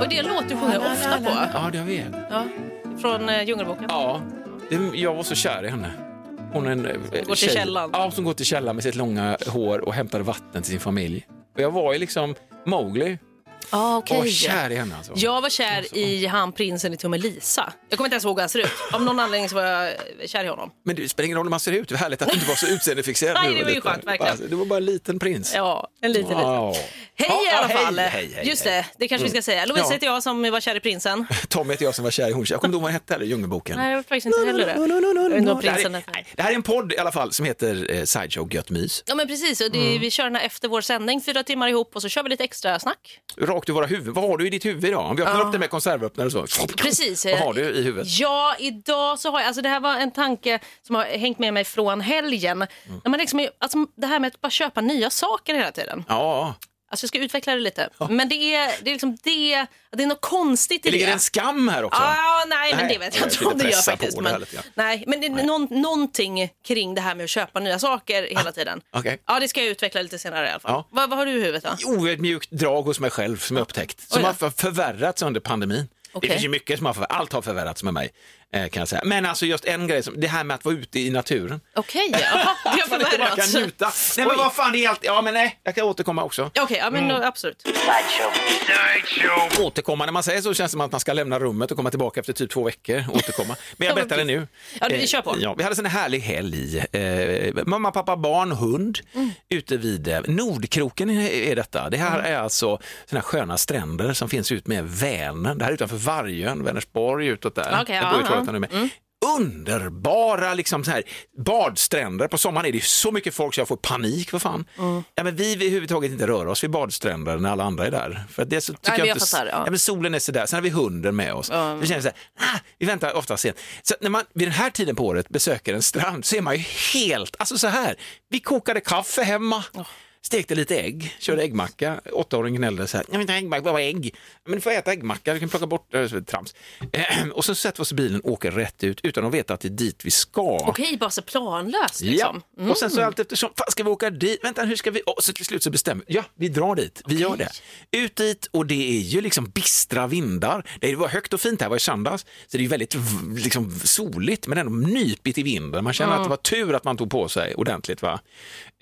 Och det låter du sjunger ofta på. Ja, jag vet. Ja. Från eh, Djungelboken. Ja. Det, jag var så kär i henne. Hon är en eh, tjej. till källan. Ja, som går till källan med sitt långa hår och hämtar vatten till sin familj. Och jag var ju liksom Mowgli Ah, och var kär i henne. Alltså. Jag var kär i han prinsen i Tummelisa. Jag kommer inte ens ihåg hur han ser ut. Av någon anledning så var jag eh, kär i honom. Men det spelar ingen roll hur man ser ut. Det är härligt att du inte var så utseendefixerad. Nej, nu. det var ju skönt, verkligen. Alltså, Du var bara en liten prins. Ja, en liten liten. Wow. Hej Ja, i alla ja, hej, fall! hej, hej, Just hej. Mm. det, det kanske vi ska säga. Lovisa Ja. heter jag som var kär i prinsen. Tommy heter jag som var kär i hon. Jag kommer inte ihåg vad han hette heller, Djungelboken. Nej, jag vet faktiskt inte heller det. Jag vet inte om Det här, är, prinsen heter. nej, det här är en podd i alla fall som heter eh, Sideshow Gött Mys. Ja men precis, och det, Mm. vi kör den här efter vår sändning, fyra timmar ihop och så kör vi lite extra snack. Rakt ur våra huvuden. Vad har du i ditt huvud idag? Om vi öppnar upp det med konservöppnare och så. Ah. Precis. Vad har du i huvudet? Ja, idag så har jag, alltså det här var en tanke som har hängt med mig från helgen. Mm. När man liksom, är- alltså det här med att bara köpa nya saker hela tiden. Ja, Alltså jag ska utveckla det lite. Men det är, det är liksom det, det är något konstigt i det ligger det. en skam här också. Ah, nej, men Nej, det vet jag jag inte ville om det gör pressa på faktiskt. det här Men, lite grann. nej, men det är någon, någonting kring det här med att köpa nya saker hela tiden. Ah, okej. Ja, det ska jag utveckla lite senare i alla fall. Ja. Vad, vad har du i huvudet då? oödmjukt drag hos mig själv som jag upptäckt, Oj som då. har för- förvärrats under pandemin. Okej. Det finns ju mycket som har förvärrats, allt har förvärrats med mig. eh, Kan jag säga. Men alltså just en grej, som, det här med att vara ute i naturen. Okej, jaha, det har Att man inte bara förvärrats. kan njuta. Nej men vad fan, det är allt. Ja men nej, jag kan återkomma också. Okej, ja, men Mm. absolut. Återkomma, när man säger så känns det som att man ska lämna rummet och komma tillbaka efter typ två veckor. Återkomma. Men jag Ja, men berättar det nu. Ja, du, vi Eh, kör på. Ja, vi hade en sån här härlig helg. Eh, mamma, pappa, barn, hund Mm. ute vid eh, Nordkroken är detta. Det här Mm. är alltså såna här sköna stränder som finns ut med Vänern. Det här är utanför Vargön, Vänersborg utåt där. Okej, jag bor i ja, Mm. Trollhättan nu med. Underbara liksom så här, badstränder. På sommaren är det ju så mycket folk så jag får panik. Vad fan? Mm. Ja, men vi vill överhuvudtaget inte röra oss vid badstränder när alla andra är där. För att det är så, tycker men jag inte, fattar, ja. Ja, men solen är sådär, sen har vi hunden med oss. Vi känner så här, ah, vi väntar ofta sent. Så att när man vid den här tiden på året besöker en strand så är man ju helt, alltså så här, vi kokade kaffe hemma. Stekte lite ägg, körde äggmacka. Åttaåringen gnällde så här, jag vill inte ha äggmacka, bara ägg. Men du får äta äggmacka, du kan plocka bort, äh, så- trams. Eh, och så sätter vi oss i bilen och åker rätt ut utan att veta att det är dit vi ska. Okej, bara så planlöst liksom. Ja. Och sen så allt eftersom, fan ska vi åka dit? Vänta, hur ska vi? Och så till slut så bestämmer ja, vi drar dit, vi gör det. Ut dit och det är ju liksom bistra vindar. Det var högt och fint här, det var i söndags, så det är ju väldigt v- liksom soligt men ändå nypigt i vinden. Man känner att det var tur att man tog på sig ordentligt. Va?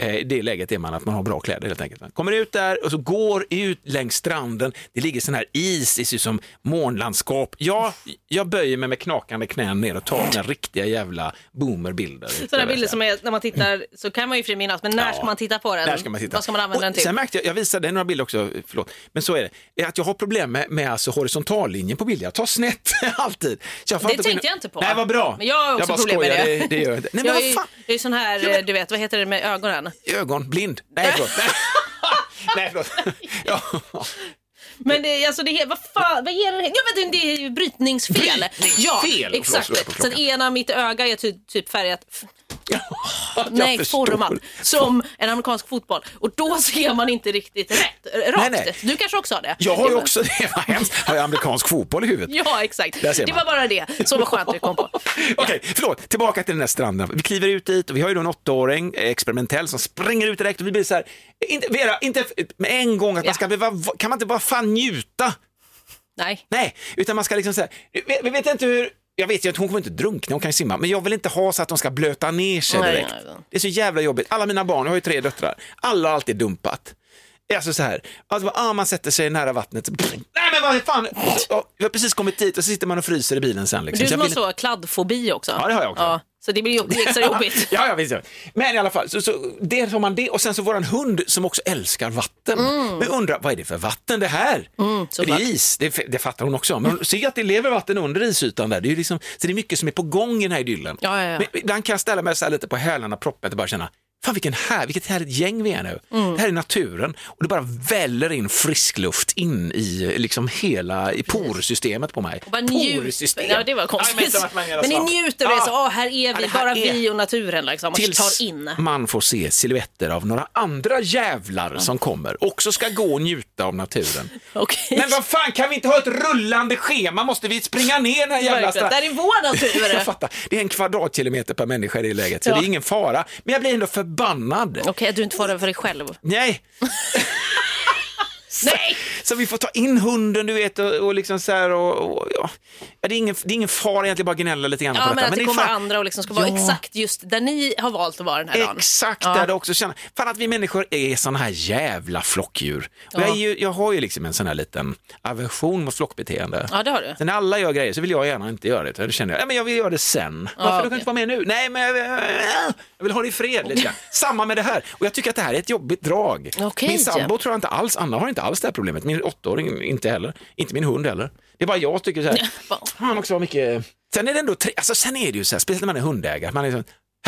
Eh, I det läget är man att man har bra kläder helt enkelt. Man kommer ut där och så går ut längs stranden. Det ligger sån här is, det ser ut som månlandskap. Ja, jag böjer mig med knakande knän ner och tar den riktiga jävla boomerbilder. Sådana bilder som är, när man tittar så kan man ju fri minnas, men när Ja. ska man titta på den? Där ska man titta. Vad ska man använda och den till? Sen märkte jag, jag visade dig några bilder också, förlåt, men så är det, är att jag har problem med, med alltså horisontallinjen på bilder. Jag tar snett alltid. Så jag får Det gå in- tänkte jag inte på. Nej, vad bra. Men jag har också bara problem med skojar, det. det. gör jag inte. Nej, men jag vad är, fan, jag är sån här, eh, du vet, vad heter det med ögonen? ögon, blind. Nej, förlåt. Nej. Nej, förlåt. Ja. Men det, alltså det, he- vad fan, vad är det? Jag vet inte, det är ju brytningsfel. Brytningsfel! Ja, Förlåt, exakt. slår jag på Så klockan. att ena mitt öga är ty, typ färgat, Jag nej förstår. format, som en amerikansk fotboll. Och då ser man inte riktigt rätt, rakt. Nej, nej. Du kanske också har det? Jag har ju Det var- också det, vad hemskt. Har jag amerikansk fotboll i huvudet? Ja, exakt. Där ser Det man. var bara det som var skönt att du kom på. Okej, förlåt. Tillbaka till den här stranden. Vi kliver ut dit och vi har ju då en åttaåring, eh, experimentell, som springer ut direkt och vi blir så här, inte, Vera, inte f- med en gång att Ja. man ska behöva, kan man inte bara fan njuta? Nej. Nej, utan man ska liksom säga, vi, vi vet inte hur, jag vet ju att hon kommer inte drunkna, hon kan ju simma, men jag vill inte ha så att de ska blöta ner sig Nej, direkt. nej, nej. Det är så jävla jobbigt. Alla mina barn, jag har ju tre döttrar, alla har alltid dumpat. Alltså så här, alltså, bara, ah, man sätter sig nära vattnet, så- nej men vad fan, Ja, vi har precis kommit dit och så sitter man och fryser i bilen sen. Liksom. Du Så jag som har vill- så kladdfobi också. Ja, det har jag också. så det blir ju det är extra jobbigt. ja, ja, visst. ja. Men i alla fall, så, så, det har man det och sen så våran hund som också älskar vatten. Mm. Men undrar, vad är det för vatten det här? det såklart. är is, det, f- det fattar hon också. Men hon ser ju att det lever vatten under isytan där. Det är ju liksom, så det är mycket som är på gång i den här idyllen. Ja, ja, ja. Men ibland kan jag ställa mig så här lite på hälarna, proppen och bara känna, Fan vilken här, vilket härligt gäng vi är nu. Mm. Det här är naturen och det bara väller in frisk luft in i liksom hela i porsystemet på mig. Bara njut. Porsystem. Ja, det var Ja, men konstigt. så vart man gärna men ni sa. njuter och är så, Ja. ah, här är vi, det här bara är- Mm. vi och naturen liksom. Och tar in. man får se silhuetter av några andra jävlar som kommer, också ska gå och njuta av naturen. Okej. Men vad fan, kan vi inte ha ett rullande schema? Måste vi springa ner den här jävla Verkligen. stranden? Där är vår Jag natur. fattar, det är en kvadratkilometer per människa i det läget, så Ja. det är ingen fara. Men jag blir ändå förbannad. Okej, att du inte får den för dig själv. Nej, Nej! så vi får ta in hunden du vet och, och liksom så här och, och ja. Ja, det, är ingen, det är ingen fara egentligen, bara gnälla lite grann Ja, på men detta. att det, är kommer fan- andra och liksom ska vara Ja. exakt just där ni har valt att vara den här dagen. Exakt, Ja. där det också känner. Fan att vi människor är såna här jävla flockdjur. Och jag, är ju, jag har ju liksom en sån här liten aversion mot flockbeteende. Ja, det har du. Så när alla gör grejer så vill jag gärna inte göra det. Då känner jag, "Ja, men jag vill göra det sen. Varför du kan okej. inte vara med nu? Nej, men jag vill, jag vill ha det i fred lite grann. Samma med det här. Och jag tycker att det här är ett jobbigt drag. Okej. Min sambo tror jag inte alls, Anna har inte alls det här problemet. Min åttaåring inte heller. Inte min hund heller. Det är bara jag tycker så här. Fan också vad mycket... Sen är det ändå tre... alltså, sen är det ju så här, speciellt när man är hundägare, man är så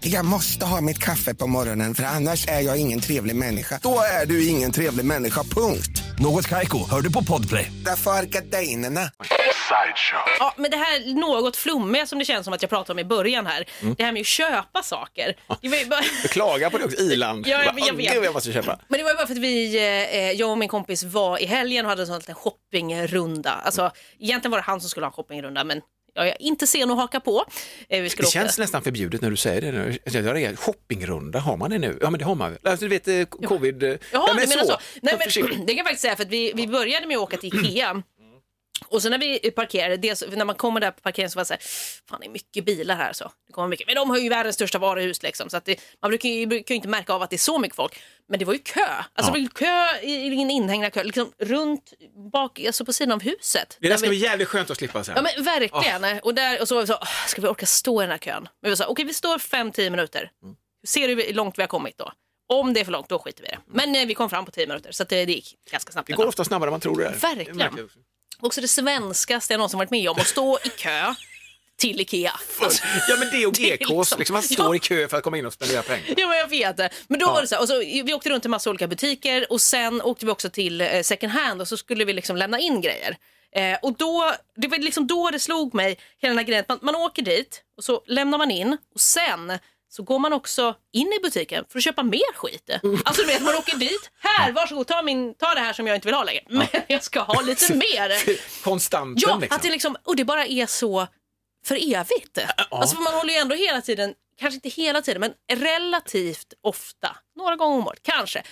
Jag måste ha mitt kaffe på morgonen för annars är jag ingen trevlig människa. Då är du ingen trevlig människa, punkt. Något Kaiko, hör du på Podplay. Därför är gardinerna. Ja, men det här något flummiga som det känns som att jag pratade om i början här. Mm. Det här med att köpa saker. Det var ju bara... Jag klagar på det också, Iland. Ja, jag- Bara, jag "Åh, vet." Gud, jag måste köpa. Men det var ju bara för att vi, eh, jag och min kompis var i helgen och hade en sån liten shoppingrunda. Alltså, egentligen var det han som skulle ha en shoppingrunda, men jag är inte sen att haka på. Eh, vi skulle Det åka- känns nästan förbjudet när du säger det nu. Alltså, Jag reagerar. Shoppingrunda, har man det nu? Ja, men det har man väl? Alltså, du vet, eh, covid... eh, Jaha, nej, du menar så. Nej, Försiktigt. Mm. men, det kan jag faktiskt säga, för att vi, vi började med att åka till Ikea. Och sen när vi parkerade, dels, när man kommer där på parkeringen så var det så här, fan det är mycket bilar här så. Det kommer mycket. Men de har ju världens största varuhus liksom, så att det, man brukar ju, brukar ju inte märka av att det är så mycket folk. Men det var ju kö, alltså det var ju kö, i- i en inhägnad kö, liksom runt bak, alltså på sidan av huset. Det där Där ska vi- bli jävligt skönt att slippa sen. Ja men verkligen. Och, där, och så var vi så, "Åh, ska vi orka stå i den här kön? Men vi sa, okej vi står 5-10 minuter. Mm. Ser du hur långt vi har kommit då? Om det är för långt, då skiter vi i det. Men eh, vi kom fram på 10 minuter, så att eh, det, det gick ganska snabbt. Mm. det går ändå. ofta snabbare än man tror det är. Verkligen. Det märker jag också. Också det svenskaste jag någonsin varit med om, att stå i kö till Ikea. Ja men det och Det är GKs, liksom- liksom, man Ja. står i kö för att komma in och spendera pengar. Ja, men jag vet det. Men då var det så här, och så, vi åkte runt till massa olika butiker och sen åkte vi också till eh, second hand och så skulle vi liksom lämna in grejer. Eh, och då, det var liksom då det slog mig, hela den här grejen, att man, man åker dit och så lämnar man in och sen så går man också in i butiken för att köpa mer skit. Alltså du vet, man åker dit, här varsågod ta, min, ta det här som jag inte vill ha längre, men jag ska ha lite mer. Konstanten Ja, liksom. att det liksom, och det bara är så för evigt. Alltså för man håller ju ändå hela tiden, kanske inte hela tiden, men relativt ofta, några gånger om året kanske,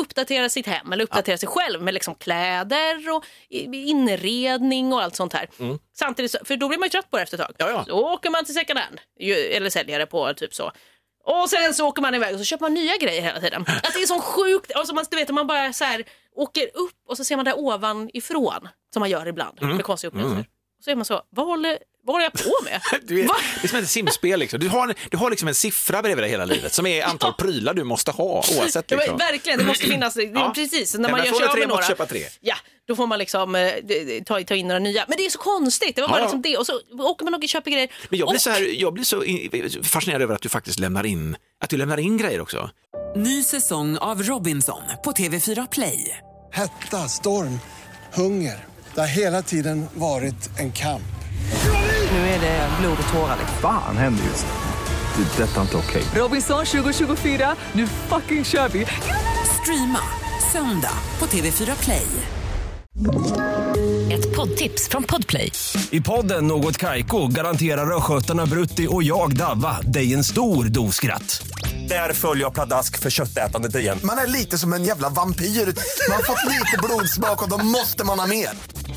uppdatera sitt hem eller uppdatera sig själv med liksom kläder och i- inredning och allt sånt här. Samtidigt, så- för då blir man ju trött på det efter ett tag. Mm. Ja, ja. Då åker man till second hand, ju- eller säljare på typ så. Och sen så åker man iväg och så köper man nya grejer hela tiden. Att det är så sjukt, alltså man, du vet man bara så här åker upp och så ser man det ovanifrån som man gör ibland Mm. med konstiga upplevelser. Och så är man så, vad håller, vad håller jag på med? Du är, Va? det är som ett simspel. Liksom. Du, har, en- du har liksom en siffra bredvid dig hela livet som är antal prylar du måste ha oavsett. Ja, Liksom. men, verkligen, det måste finnas, det, är Ja. precis, Nej, när man men gör från sig och av tre med några. måste köpa tre. Ja, då får man liksom eh, det- det- ta, ta in några nya. Men det är så konstigt, det var bara Ja, ja. liksom det. Och så åker man och köper grejer. Men jag blir, och, så här, jag blir så i- fascinerad över att du faktiskt lämnar in, att du lämnar in grejer också. Ny säsong av Robinson på TV4 Play. Hetta, storm, hunger. Det har hela tiden varit en kamp. Nu är det blod och tårar. liksom. Fan händer just nu. Det. är Detta är inte okej. Robinson 2024, nu fucking kör vi! Streama söndag på TV4 Play. Ett poddtips från Podplay. I podden Något Kaiko garanterar östgötarna Brutti och jag, Davva, dig en stor dos skratt. Där följer jag pladask för köttätandet igen. Man är lite som en jävla vampyr. Man har fått lite blodsmak och då måste man ha mer.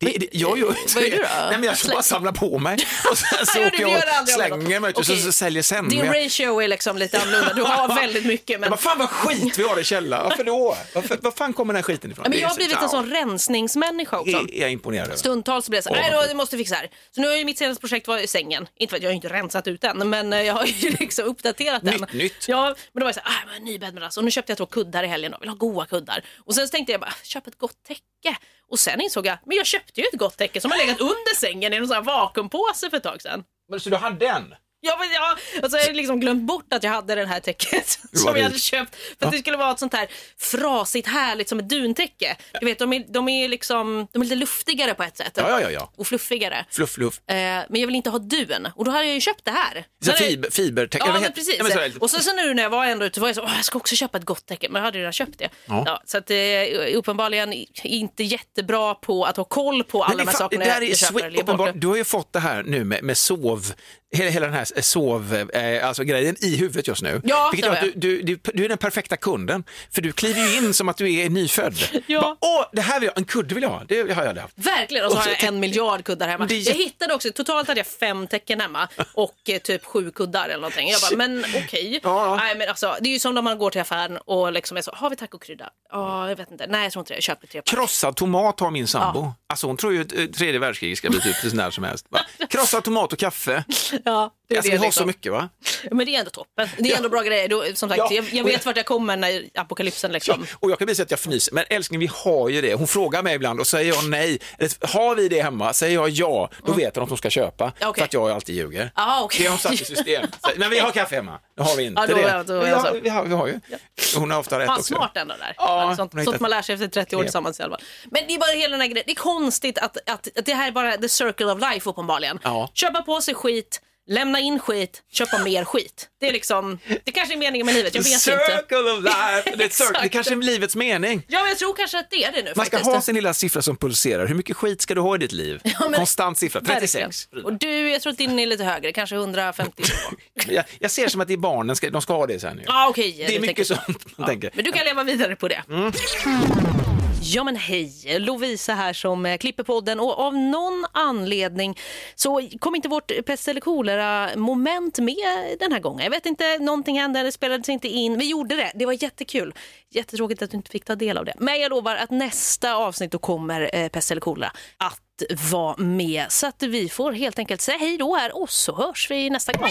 Det, det, jag gör inte Vad gör du då? Alltså- Nej, men jag ska bara samla på mig och sen så Ja, det åker gör jag det och aldrig om slänger mig ut och så, Okej. så säljer sen. Din Men- ratio är liksom lite annorlunda, du har väldigt mycket. Men... Men... Vad fan vad skit vi har i källaren, varför då? Varför, var fan kommer den här skiten ifrån? Ja, Men Det är jag har så- blivit en sån rensningsmänniska Det också. är jag imponerad över. Stundtals så blir jag så här, nej då, jag måste fixa det här. Så nu har ju mitt senaste projekt var i sängen. Inte för att jag har ju inte rensat ut den, men eh, jag har ju liksom uppdaterat den. Nytt, nytt. Ja, men då var jag så här, ah, men en ny bäddmadrass. Och nu köpte jag två kuddar i helgen och vill ha goa kuddar. Och sen så tänkte jag bara, "Ah, köp ett gott täcke. Och sen insåg jag, men jag köpte ju ett gott täcke som har legat under sängen i någon sån här vakuumpåse för ett tag sedan. Men, så du hade den? Ja, men jag, alltså jag hade liksom glömt bort att jag hade det här täcket som jag hade rik. köpt. För att det skulle vara ett sånt här frasigt härligt som ett duntäcke. Du vet, de är, de är, liksom, de är lite luftigare på ett sätt. Ja, ja, ja, ja. Och fluffigare. Fluff, fluff. Eh, men jag vill inte ha dun. Och då hade jag ju köpt det här. Så Sen är- fiber, fibertäck, Ja, eller vad men heter- precis. Ja, men så här lite- och så, så nu när jag var ändå ute var jag så, "Åh, jag ska också köpa ett gott täcke, men jag hade ju redan köpt det. Ja. så att eh, uppenbarligen inte jättebra på att ha koll på alla Men de här fan, sakerna det där är jag köper sweet- eller ger bort. uppenbart, Du har ju fått det här nu med, med sov, hela, hela den här sov, eh, alltså grejen i huvudet just nu. Ja, Vilket det gör har att du, du, du, du är den perfekta kunden, för du kliver ju in som att du är nyfödd. Ja. Bara, Åh, det här vill jag, en kudde vill jag ha, det har jag aldrig haft. Verkligen, och så Och har så jag tänk- en miljard kuddar hemma. Det är Jag jätte- hittade också, totalt hade jag fem tecken hemma och eh, typ sju kuddar eller någonting. Jag bara, men okej. Ja. Nej, men alltså, det är ju som när man går till affären och liksom är så, har vi tacokrydda? Ja, jag vet inte. Nej, jag tror inte det. Jag köper tre pack. Krossad tomat har min sambo. Alltså hon tror ju att eh, tredje världskriget ska bli typ till när som helst. Va? Krossad tomat och kaffe. Ja, det är Alltså, det, vi har liksom. så mycket va? Men det är ändå toppen. Det är ändå bra grejer. Då, som sagt, Ja. jag, jag vet vart jag kommer när apokalypsen liksom. Och jag kan visa att jag fnyser, men älskling vi har ju det. Hon frågar mig ibland och säger jag nej, eller, har vi det hemma, säger jag ja, då vet hon att hon ska köpa. Ja, Mm. okej. För att jag alltid ljuger. Ja, okej. Det har hon satt i system. Så, men vi har kaffe hemma, det har vi inte Ja, då- det. ja, då- vi, alltså. har, vi, har, vi har ju. Hon har ofta rätt Fan också. smart ändå där. Ja, Ja, sånt, hon har sånt hittat- man lär sig efter 30 år knep. tillsammans i alla fall. Men det är bara hela den här grejen. Det är konstigt att, att, att det här är bara the circle of life uppenbarligen. Ja. Köpa på sig skit, lämna in skit, köpa mer skit. Det är liksom, det kanske är meningen med livet, jag vet inte. Circle of life, det, är ett circle. det Exakt. kanske är livets mening. Ja, men jag tror kanske att det är det nu Man ska faktiskt. ha sin lilla siffra som pulserar. Hur mycket skit ska du ha i ditt liv? men- Konstant siffra, 36. Verkligen. Och du, jag tror att din är lite högre, kanske 150. Jag, jag ser som att det är barnen, ska, de ska ha det sen. ju. ah, okej. det du är tänker mycket sånt man tänker. Men du kan leva vidare på det. Ja men hej, Lovisa här som eh, klipper podden och av någon anledning så kom inte vårt pest eller kolera moment med den här gången. Jag vet inte, någonting hände, det spelades inte in. Vi gjorde det, det var jättekul. Jättetråkigt att du inte fick ta del av det. Men jag lovar att nästa avsnitt då kommer eh, pest eller kolera att att vara med. Så att vi får helt enkelt säga hej då här och så hörs vi nästa gång.